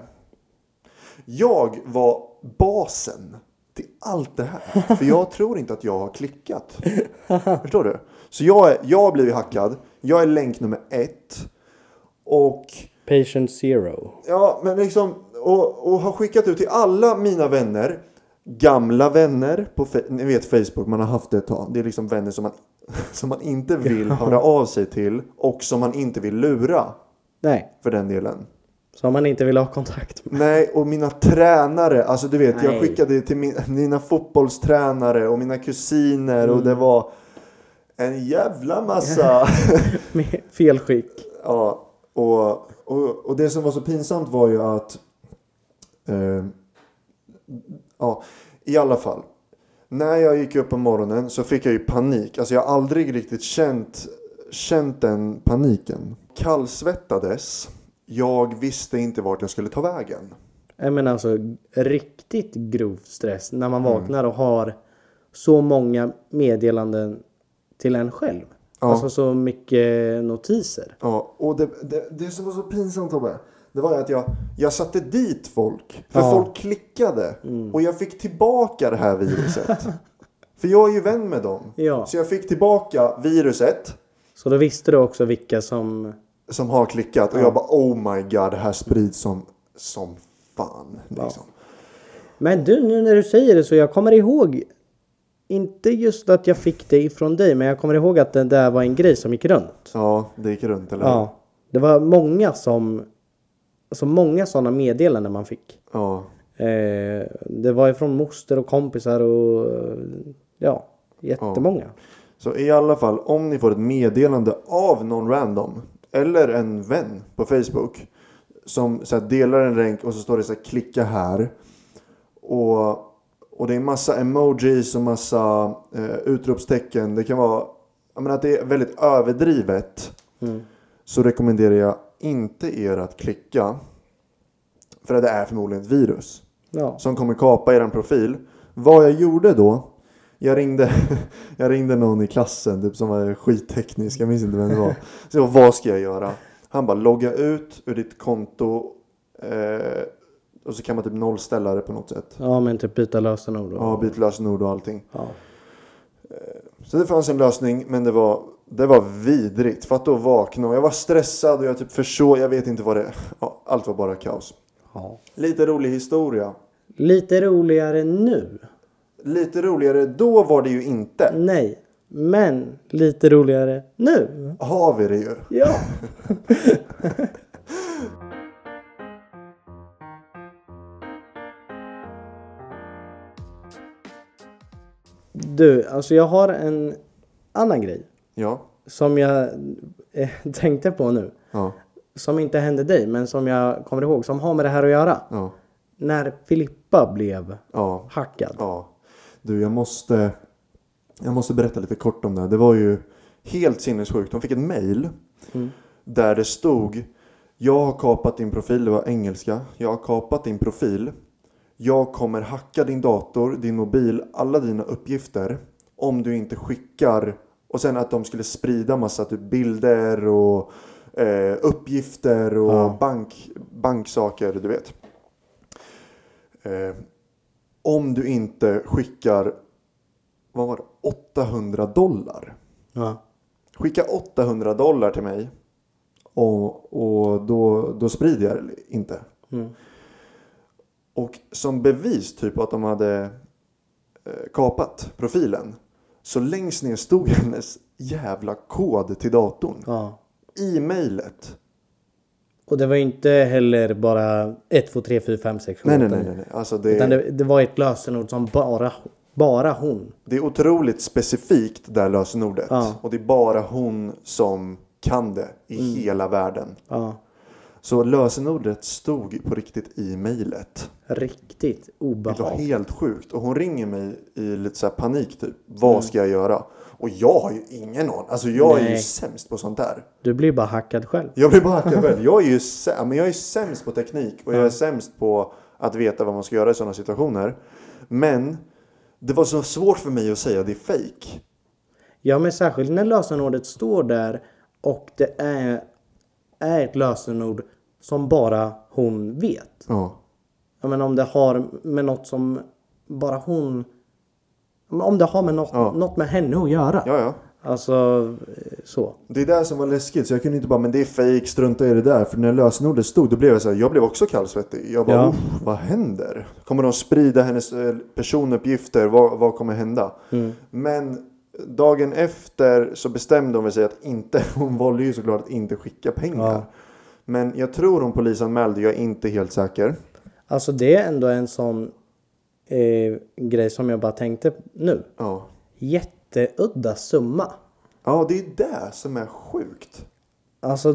Speaker 2: Jag var basen till allt det här. För jag tror inte att jag har klickat. Förstår du? Så jag, är, jag har blivit hackad. Jag är länk nummer ett. Och,
Speaker 1: Patient zero.
Speaker 2: ja, men liksom, och, och har skickat ut till alla mina vänner. Gamla vänner på Fe- ni vet Facebook, man har haft det ett tag. Det är liksom vänner som man, som man inte vill höra av sig till och som man inte vill lura
Speaker 1: Nej,
Speaker 2: för den delen.
Speaker 1: som man inte vill ha kontakt med.
Speaker 2: Nej, och mina tränare. Alltså du vet, jag
Speaker 1: Nej.
Speaker 2: skickade det till min, mina fotbollstränare och mina kusiner och det var en jävla massa.
Speaker 1: med fel skick.
Speaker 2: ja, och, och, och det som var så pinsamt var ju att... Eh, ja, i alla fall. När jag gick upp på morgonen så fick jag ju panik. Alltså jag har aldrig riktigt känt, känt den paniken. Kallsvettades. Jag visste inte vart jag skulle ta vägen.
Speaker 1: Nej men alltså riktigt grov stress när man vaknar och har så många meddelanden till en själv.
Speaker 2: Ja.
Speaker 1: Alltså så mycket notiser.
Speaker 2: Ja, och det, det, det som var så pinsamt Tobbe, det var ju att jag, jag satte dit folk. För
Speaker 1: Ja. Mm.
Speaker 2: folk klickade. Och jag fick tillbaka det här viruset. för jag är ju vän med dem.
Speaker 1: Ja.
Speaker 2: Så jag fick tillbaka viruset
Speaker 1: Så då visste du också vilka som...
Speaker 2: som har klickat. Och jag bara oh my god, det här sprids som, som fan. Liksom.
Speaker 1: Men du, nu när du säger det så jag kommer ihåg... Inte just att jag fick det ifrån dig, men jag kommer ihåg att det där var en grej som gick runt.
Speaker 2: Ja, det gick runt eller hur?
Speaker 1: Ja. Det var många som... Alltså många sådana meddelanden man fick.
Speaker 2: ja.
Speaker 1: Eh, det var ifrån moster och kompisar och eh, ja, jättemånga.
Speaker 2: Så i alla fall, om ni får ett meddelande av någon random eller en vän på Facebook som så här, delar en länk och så står det så här, klicka här. Och, och det är massa emojis och massa eh, utropstecken. Det kan vara, jag menar att det är väldigt överdrivet. Så rekommenderar jag inte er att klicka. För att det är förmodligen ett virus
Speaker 1: Ja.
Speaker 2: som kommer kapa er profil. Vad jag gjorde då? Jag ringde, jag ringde någon i klassen typ, som var skitteknisk, jag minns inte vem det var. Så jag, vad ska jag göra? Han bara logga ut ur ditt konto eh, och så kan man typ nollställa det på något sätt.
Speaker 1: ja, men typ byta lösenord. och-
Speaker 2: Ja, byt lösenord och allting.
Speaker 1: Ja.
Speaker 2: Så det fanns en lösning, men det var, det var vidrigt. För att då vakna och jag var stressad och jag typ försåg, jag vet inte vad det... Ja, allt var bara kaos.
Speaker 1: Ja.
Speaker 2: Lite rolig historia.
Speaker 1: Lite roligare nu.
Speaker 2: Lite roligare då var det ju inte.
Speaker 1: Nej, men lite roligare nu.
Speaker 2: har vi det ju.
Speaker 1: Ja. du, alltså jag har en annan grej
Speaker 2: Ja.
Speaker 1: som jag eh, tänkte på nu.
Speaker 2: Ja.
Speaker 1: som inte hände dig, men som jag kommer ihåg, som har med det här att göra.
Speaker 2: Ja.
Speaker 1: När Filippa blev
Speaker 2: Ja.
Speaker 1: hackad.
Speaker 2: ja. Du, jag måste, jag måste berätta lite kort om det. här. Det var ju helt sinnessjukt. De fick ett mejl där det stod Jag har kapat din profil. Det var engelska. Jag har kapat din profil. Jag kommer hacka din dator, din mobil, alla dina uppgifter om du inte skickar och sen att de skulle sprida massa typ bilder och eh, uppgifter och bank, banksaker, du vet. Eh, om du inte skickar vad var det, 800 dollar.
Speaker 1: Ja.
Speaker 2: Skicka 800 dollar till mig och, och då, då sprider jag det inte.
Speaker 1: Mm.
Speaker 2: Och som bevis typ att de hade eh, kapat profilen så längst ner stod hennes jävla kod till datorn
Speaker 1: ja.
Speaker 2: i mejlet.
Speaker 1: Och det var ju inte heller bara 1, 2, 3, 4, 5, 6, 7,
Speaker 2: Nej, nej, nej, nej, nej. Alltså det,
Speaker 1: Utan det, det var ett lösenord som bara, bara hon.
Speaker 2: Det är otroligt specifikt det här lösenordet.
Speaker 1: Ja.
Speaker 2: Och det är bara hon som kan det i
Speaker 1: Mm.
Speaker 2: hela världen.
Speaker 1: Ja.
Speaker 2: Så lösenordet stod på riktigt i mejlet.
Speaker 1: Riktigt
Speaker 2: Det var
Speaker 1: obehagligt.
Speaker 2: helt sjukt. Och hon ringer mig i lite så här panik typ. Vad ska jag göra? Och jag har ju ingen aning. Alltså jag är ju
Speaker 1: Mm. Nej.
Speaker 2: sämst på sånt där.
Speaker 1: Du blir bara hackad själv.
Speaker 2: Jag blir bara hackad själv. Jag är ju sä- ja, men jag är sämst på teknik och jag är sämst på att veta vad man ska göra i sådana situationer. Men det var så svårt för mig att säga det är fake.
Speaker 1: Ja, men särskilt när lösenordet står där och det är, är ett lösenord som bara hon vet.
Speaker 2: Ja.
Speaker 1: Ja, men om det har med något som bara hon... Om det har med något,
Speaker 2: Ja.
Speaker 1: något med henne att göra.
Speaker 2: ja, ja.
Speaker 1: Alltså, eh, så.
Speaker 2: Det är det som var läskigt så jag kunde inte bara men det är fake, strunta i det där. För när lösenordet stod då blev jag så här, jag blev också kallsvettig. Jag bara,
Speaker 1: Ja.
Speaker 2: "Uff, vad händer? Kommer de sprida hennes eh, personuppgifter? Vad, vad kommer hända?
Speaker 1: Mm.
Speaker 2: Men dagen efter så bestämde hon väl sig att inte, hon valde ju såklart att inte skicka pengar.
Speaker 1: Ja.
Speaker 2: Men jag tror hon polisanmälde, jag är inte helt säker.
Speaker 1: Alltså, det är ändå en sån eh, grej som jag bara tänkte nu.
Speaker 2: Ja.
Speaker 1: Jätteudda summa.
Speaker 2: ja, det är det som är sjukt.
Speaker 1: Alltså,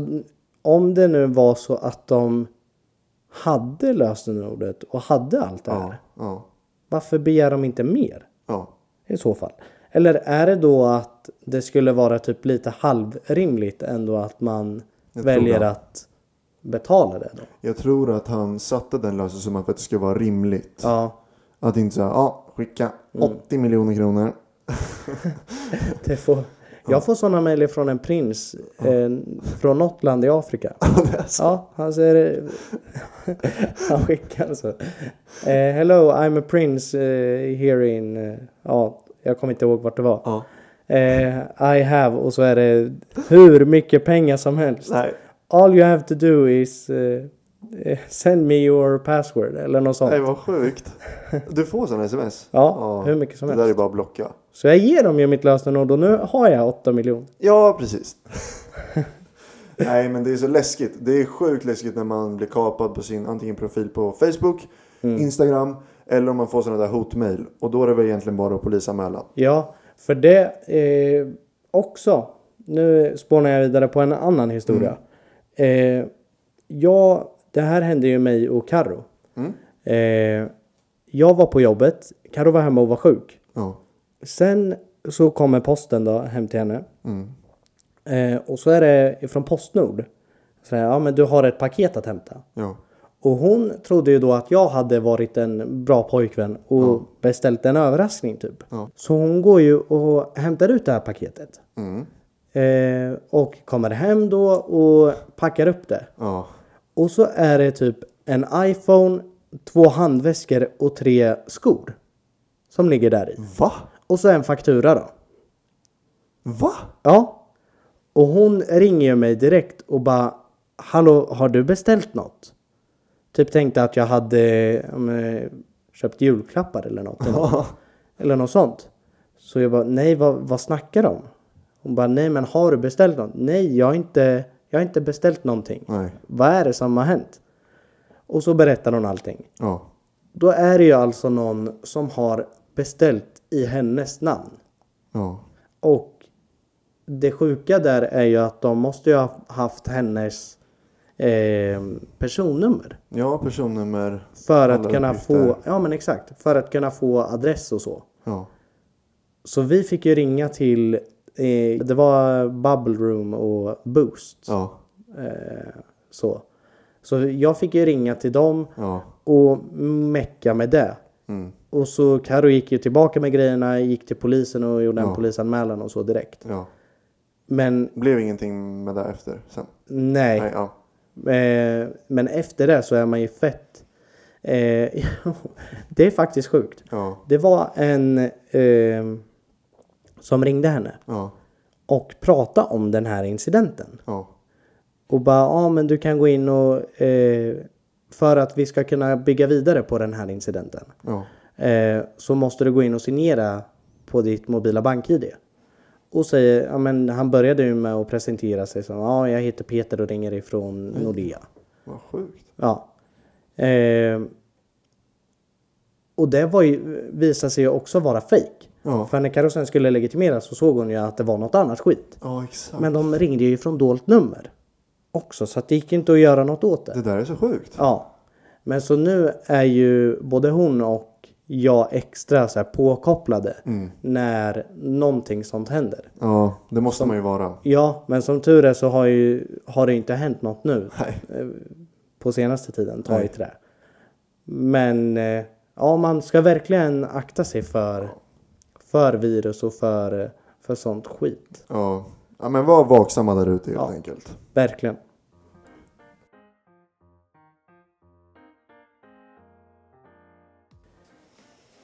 Speaker 1: om det nu var så att de hade lösenordet och hade allt det här.
Speaker 2: Ja, ja,
Speaker 1: Varför begär de inte mer
Speaker 2: ja.
Speaker 1: i så fall? Eller är det då att det skulle vara typ lite halvrimligt ändå att man
Speaker 2: Jag
Speaker 1: väljer
Speaker 2: tror det.
Speaker 1: att betala det då?
Speaker 2: Jag tror att han satte den lösensumman för att det skulle vara rimligt.
Speaker 1: Ja,
Speaker 2: Att inte säga, ja, skicka 80 miljoner kronor.
Speaker 1: det får... Jag får sådana mejl från en prins eh, från något land i Afrika. Ja, han säger... han skickar så. Eh, hello, I'm a prince eh, here in... eh, ja, jag kommer inte ihåg vart det var.
Speaker 2: Ja.
Speaker 1: Eh, I have och så är det hur mycket pengar som helst.
Speaker 2: Nej,
Speaker 1: All you have to do is eh, eh, send me your password eller något sånt.
Speaker 2: nej vad sjukt. Du får sådana sms?
Speaker 1: Ja, hur mycket som
Speaker 2: Det
Speaker 1: helst.
Speaker 2: där är bara att blocka.
Speaker 1: Så jag ger dem ju mitt lösenord och nu har jag 8 miljoner.
Speaker 2: Ja, precis. nej, men det är så läskigt. Det är sjukt läskigt när man blir kapad på sin antingen profil på Facebook, Instagram eller om man får sådana där hotmail. Och då är det väl egentligen bara att polisanmäla.
Speaker 1: Ja, för det eh, också. Nu spånar jag vidare på en annan historia.
Speaker 2: Mm.
Speaker 1: Eh, ja, det här hände ju mig och Karo.
Speaker 2: Mm.
Speaker 1: Eh, jag var på jobbet, Karo var hemma och var sjuk.
Speaker 2: Ja.
Speaker 1: Sen så kommer posten då hem till henne. Eh, och så är det från Postnord. Så här, ja men du har ett paket att hämta.
Speaker 2: Ja.
Speaker 1: Och hon trodde ju då att jag hade varit en bra pojkvän och beställt en överraskning typ.
Speaker 2: Ja.
Speaker 1: Så hon går ju och hämtar ut det här paketet.
Speaker 2: Mm,
Speaker 1: Eh, och kommer hem då och packar upp det.
Speaker 2: Ja.
Speaker 1: Och så är det typ en iPhone, två handväskor och tre skor. Som ligger där i.
Speaker 2: Va?
Speaker 1: Och så en faktura då.
Speaker 2: Va?
Speaker 1: Ja. Och hon ringer ju mig direkt och bara Hallå, har du beställt något? Typ tänkte att jag hade ja, men, köpt julklappar eller något. Eller, något. eller något sånt. Så jag bara, nej vad, vad snackar de om? Hon bara, nej men har du beställt något? Nej, jag har inte, jag har inte beställt någonting.
Speaker 2: Nej.
Speaker 1: Vad är det som har hänt? Och så berättar hon allting.
Speaker 2: Ja.
Speaker 1: Då är det ju alltså någon som har beställt i hennes namn.
Speaker 2: Ja.
Speaker 1: Och det sjuka där är ju att de måste ju ha haft hennes eh, personnummer.
Speaker 2: Ja, personnummer.
Speaker 1: För
Speaker 2: Alla
Speaker 1: att kunna få,
Speaker 2: uppgifter.
Speaker 1: ja men exakt, för att kunna få adress och så.
Speaker 2: Ja.
Speaker 1: Så vi fick ju ringa till, eh, det var Bubble Room och Boost.
Speaker 2: Ja.
Speaker 1: Eh, så. så jag fick ju ringa till dem
Speaker 2: Ja.
Speaker 1: och mecka med det.
Speaker 2: Mm.
Speaker 1: Och så Karo gick ju tillbaka med grejerna, gick till polisen och gjorde en
Speaker 2: Ja.
Speaker 1: polisanmälan och så direkt.
Speaker 2: Ja.
Speaker 1: Men
Speaker 2: Blev ingenting med det efter sen?
Speaker 1: nej,
Speaker 2: Nej. Ja.
Speaker 1: Eh, men efter det så är man ju fett. Eh, det är faktiskt sjukt.
Speaker 2: Ja.
Speaker 1: Det var en eh, som ringde henne
Speaker 2: Ja.
Speaker 1: och pratade om den här incidenten.
Speaker 2: Ja.
Speaker 1: Och bara, ja ah, men du kan gå in och eh, för att vi ska kunna bygga vidare på den här incidenten
Speaker 2: Ja.
Speaker 1: eh, så måste du gå in och signera på ditt mobila bank-id. Och säger, ja men han började ju med att presentera sig som, ja ah, jag heter Peter och ringer ifrån Nordea.
Speaker 2: Vad sjukt.
Speaker 1: Ja. Ehm, Eh, och det var ju, visade sig ju också vara fejk.
Speaker 2: Ja.
Speaker 1: För när karossen skulle legitimeras så såg hon ju att det var något annat skit.
Speaker 2: Ja, exakt.
Speaker 1: Men de ringde ju från dolt nummer också så att det gick inte att göra något åt det.
Speaker 2: Det där är så sjukt.
Speaker 1: Ja. Men så nu är ju både hon och jag extra så här påkopplade
Speaker 2: Mm.
Speaker 1: när någonting sånt händer.
Speaker 2: Ja, det måste man ju vara.
Speaker 1: Ja, men som tur är så har, ju, har det inte hänt något nu
Speaker 2: Nej.
Speaker 1: på senaste tiden, ta i trä. Men eh, ja, man ska verkligen akta sig för, för virus och för, för sånt skit.
Speaker 2: Ja. ja, men var vaksamma där ute helt
Speaker 1: Ja.
Speaker 2: enkelt.
Speaker 1: Verkligen.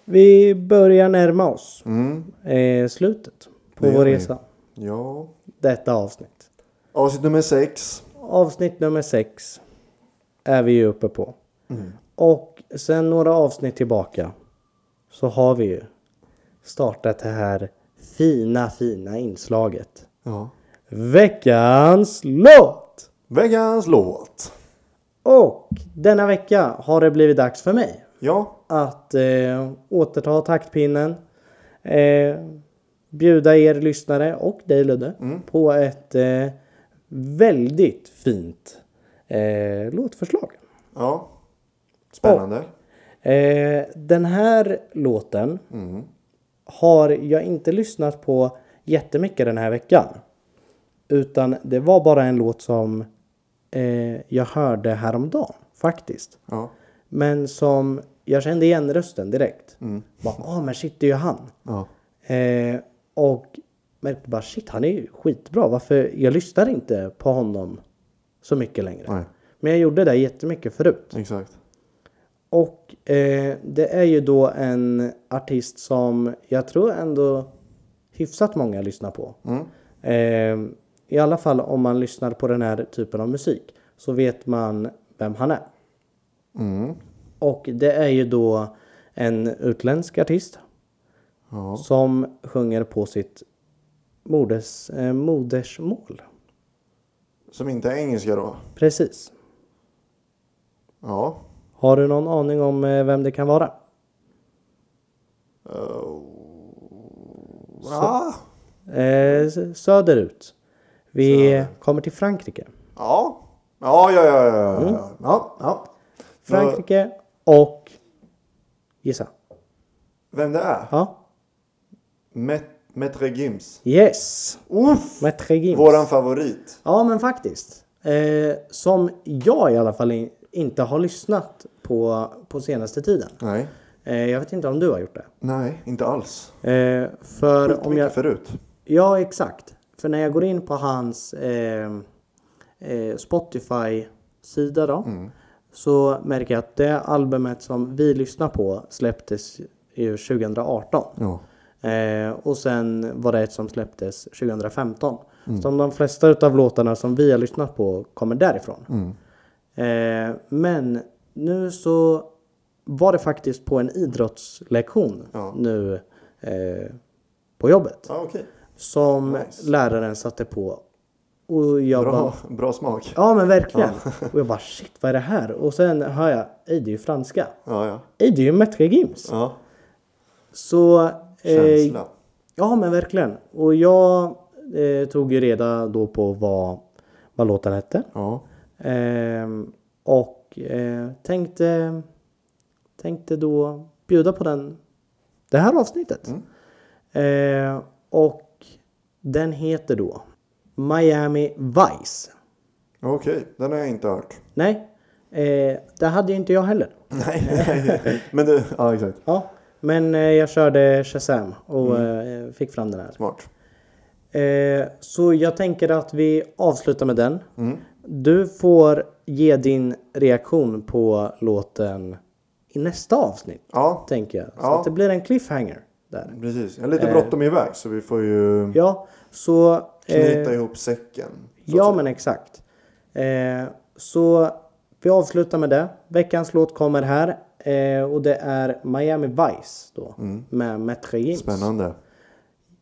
Speaker 1: Vi börjar närma oss
Speaker 2: Mm.
Speaker 1: eh, slutet på
Speaker 2: Det gör
Speaker 1: vår
Speaker 2: vi.
Speaker 1: resa.
Speaker 2: Ja.
Speaker 1: Detta avsnitt.
Speaker 2: Avsnitt nummer sex.
Speaker 1: Avsnitt nummer sex är vi ju uppe på. Och sen några avsnitt tillbaka så har vi ju startat det här fina, fina inslaget.
Speaker 2: Ja.
Speaker 1: Veckans låt!
Speaker 2: Veckans låt.
Speaker 1: Och denna vecka har det blivit dags för mig
Speaker 2: Ja.
Speaker 1: att eh, återta taktpinnen. Eh, bjuda er lyssnare och dig Ludde på ett eh, väldigt fint eh, låtförslag.
Speaker 2: Ja. Spännande.
Speaker 1: Eh, den här låten har jag inte lyssnat på jättemycket den här veckan. Utan det var bara en låt som eh, jag hörde häromdagen faktiskt.
Speaker 2: Ja.
Speaker 1: Men som jag kände igen rösten direkt. Bara, ah men shit det är ju han.
Speaker 2: Ja.
Speaker 1: Eh, och märkte bara shit han är ju skitbra. Varför? Jag lyssnar inte på honom så mycket längre.
Speaker 2: Nej.
Speaker 1: Men jag gjorde det jättemycket förut.
Speaker 2: Exakt.
Speaker 1: Och eh, det är ju då en artist som jag tror ändå hyfsat många lyssnar på. Eh, I alla fall om man lyssnar på den här typen av musik så vet man vem han är.
Speaker 2: Mm.
Speaker 1: Och det är ju då en utländsk artist
Speaker 2: Ja.
Speaker 1: som sjunger på sitt moders, eh, modersmål.
Speaker 2: Som inte är engelska då.
Speaker 1: Precis.
Speaker 2: Ja.
Speaker 1: Har du någon aning om eh, vem det kan vara?
Speaker 2: Ah.
Speaker 1: Eh, s- söderut. Vi kommer till Frankrike.
Speaker 2: Ja. Ja, ja, ja, ja, ja, ja. ja, ja.
Speaker 1: Frankrike och... Gissa.
Speaker 2: Vem det är?
Speaker 1: Ja.
Speaker 2: Met- Metre Gims.
Speaker 1: Yes!
Speaker 2: Uff,
Speaker 1: Maître Gims.
Speaker 2: våran favorit.
Speaker 1: Ja, men faktiskt. Eh, som jag i alla fall in, inte har lyssnat på, på senaste tiden.
Speaker 2: Nej.
Speaker 1: Eh, jag vet inte om du har gjort det.
Speaker 2: Nej, inte alls.
Speaker 1: Eh, för om
Speaker 2: Skitmycket
Speaker 1: jag...
Speaker 2: förut.
Speaker 1: Ja, exakt. För när jag går in på hans eh, eh, Spotify-sida då. Så märker jag att det albumet som vi lyssnar på släpptes ju 2018.
Speaker 2: Ja.
Speaker 1: Eh, och sen var det ett som släpptes 2015.
Speaker 2: Mm.
Speaker 1: Som de flesta av låtarna som vi har lyssnat på kommer därifrån.
Speaker 2: Mm.
Speaker 1: Eh, men nu så var det faktiskt på en idrottslektion
Speaker 2: Ja.
Speaker 1: nu eh, på jobbet.
Speaker 2: Ja, okej.
Speaker 1: Som
Speaker 2: Nice.
Speaker 1: läraren satte på. Och jag bara,
Speaker 2: Bra, bra smak.
Speaker 1: ja men verkligen. och jag bara shit vad är det här? Och sen hör jag, "Ej, det är ju franska.
Speaker 2: Ja, ja.
Speaker 1: "Ej, Det är ju Maître Gims.
Speaker 2: ja.
Speaker 1: Så eh,
Speaker 2: Känsla.
Speaker 1: Ja men verkligen. Och jag eh, tog ju reda då på vad, vad låten hette.
Speaker 2: Ja.
Speaker 1: Ehm, och eh, tänkte, tänkte då bjuda på den det här avsnittet. Eh, och den heter då Miami Vice.
Speaker 2: Okej, den har jag inte hört.
Speaker 1: Nej, eh, det hade ju inte jag heller.
Speaker 2: Nej, nej. Men du, ja exakt.
Speaker 1: Ja, men eh, jag körde Shazam och eh, fick fram den här.
Speaker 2: Smart.
Speaker 1: Eh, så jag tänker att vi avslutar med den.
Speaker 2: Mm.
Speaker 1: Du får ge din reaktion på låten i nästa avsnitt.
Speaker 2: Ja,
Speaker 1: Tänker jag. Så
Speaker 2: Ja.
Speaker 1: att det blir en cliffhanger där.
Speaker 2: precis. Jag har lite bråttom iväg så vi får ju
Speaker 1: Ja, så... Eh,
Speaker 2: knyta ihop säcken. så att
Speaker 1: ja,
Speaker 2: säga.
Speaker 1: men exakt. Eh, så vi avslutar med det. Veckans låt kommer här. Eh, och det är Miami Vice då. Med Maître Gims.
Speaker 2: Mm. Spännande.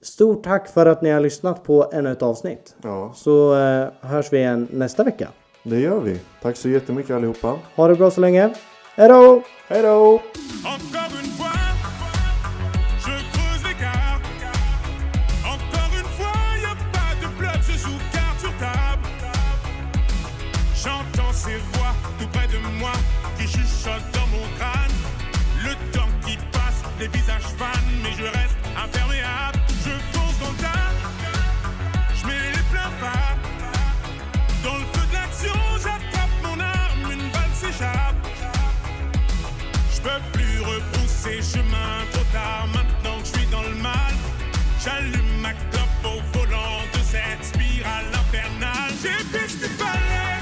Speaker 1: Stort tack för att ni har lyssnat på ännu ett avsnitt.
Speaker 2: Ja,
Speaker 1: Så eh, hörs vi igen nästa vecka.
Speaker 2: det gör vi. Tack så jättemycket allihopa.
Speaker 1: Ha det bra så länge. Hej då!
Speaker 2: Hej då!
Speaker 3: Encore une fois, je creuse l'écart. mais je reste imperméable. Je fonce dans le tas, je mets les pleins phares. Dans le feu de l'action, j'attrape mon arme, une balle s'échappe. Je peux plus repousser chemin trop tard, maintenant que je suis dans le mal. J'allume ma clope au volant de cette spirale infernale. J'ai fait ce qu'il fallait.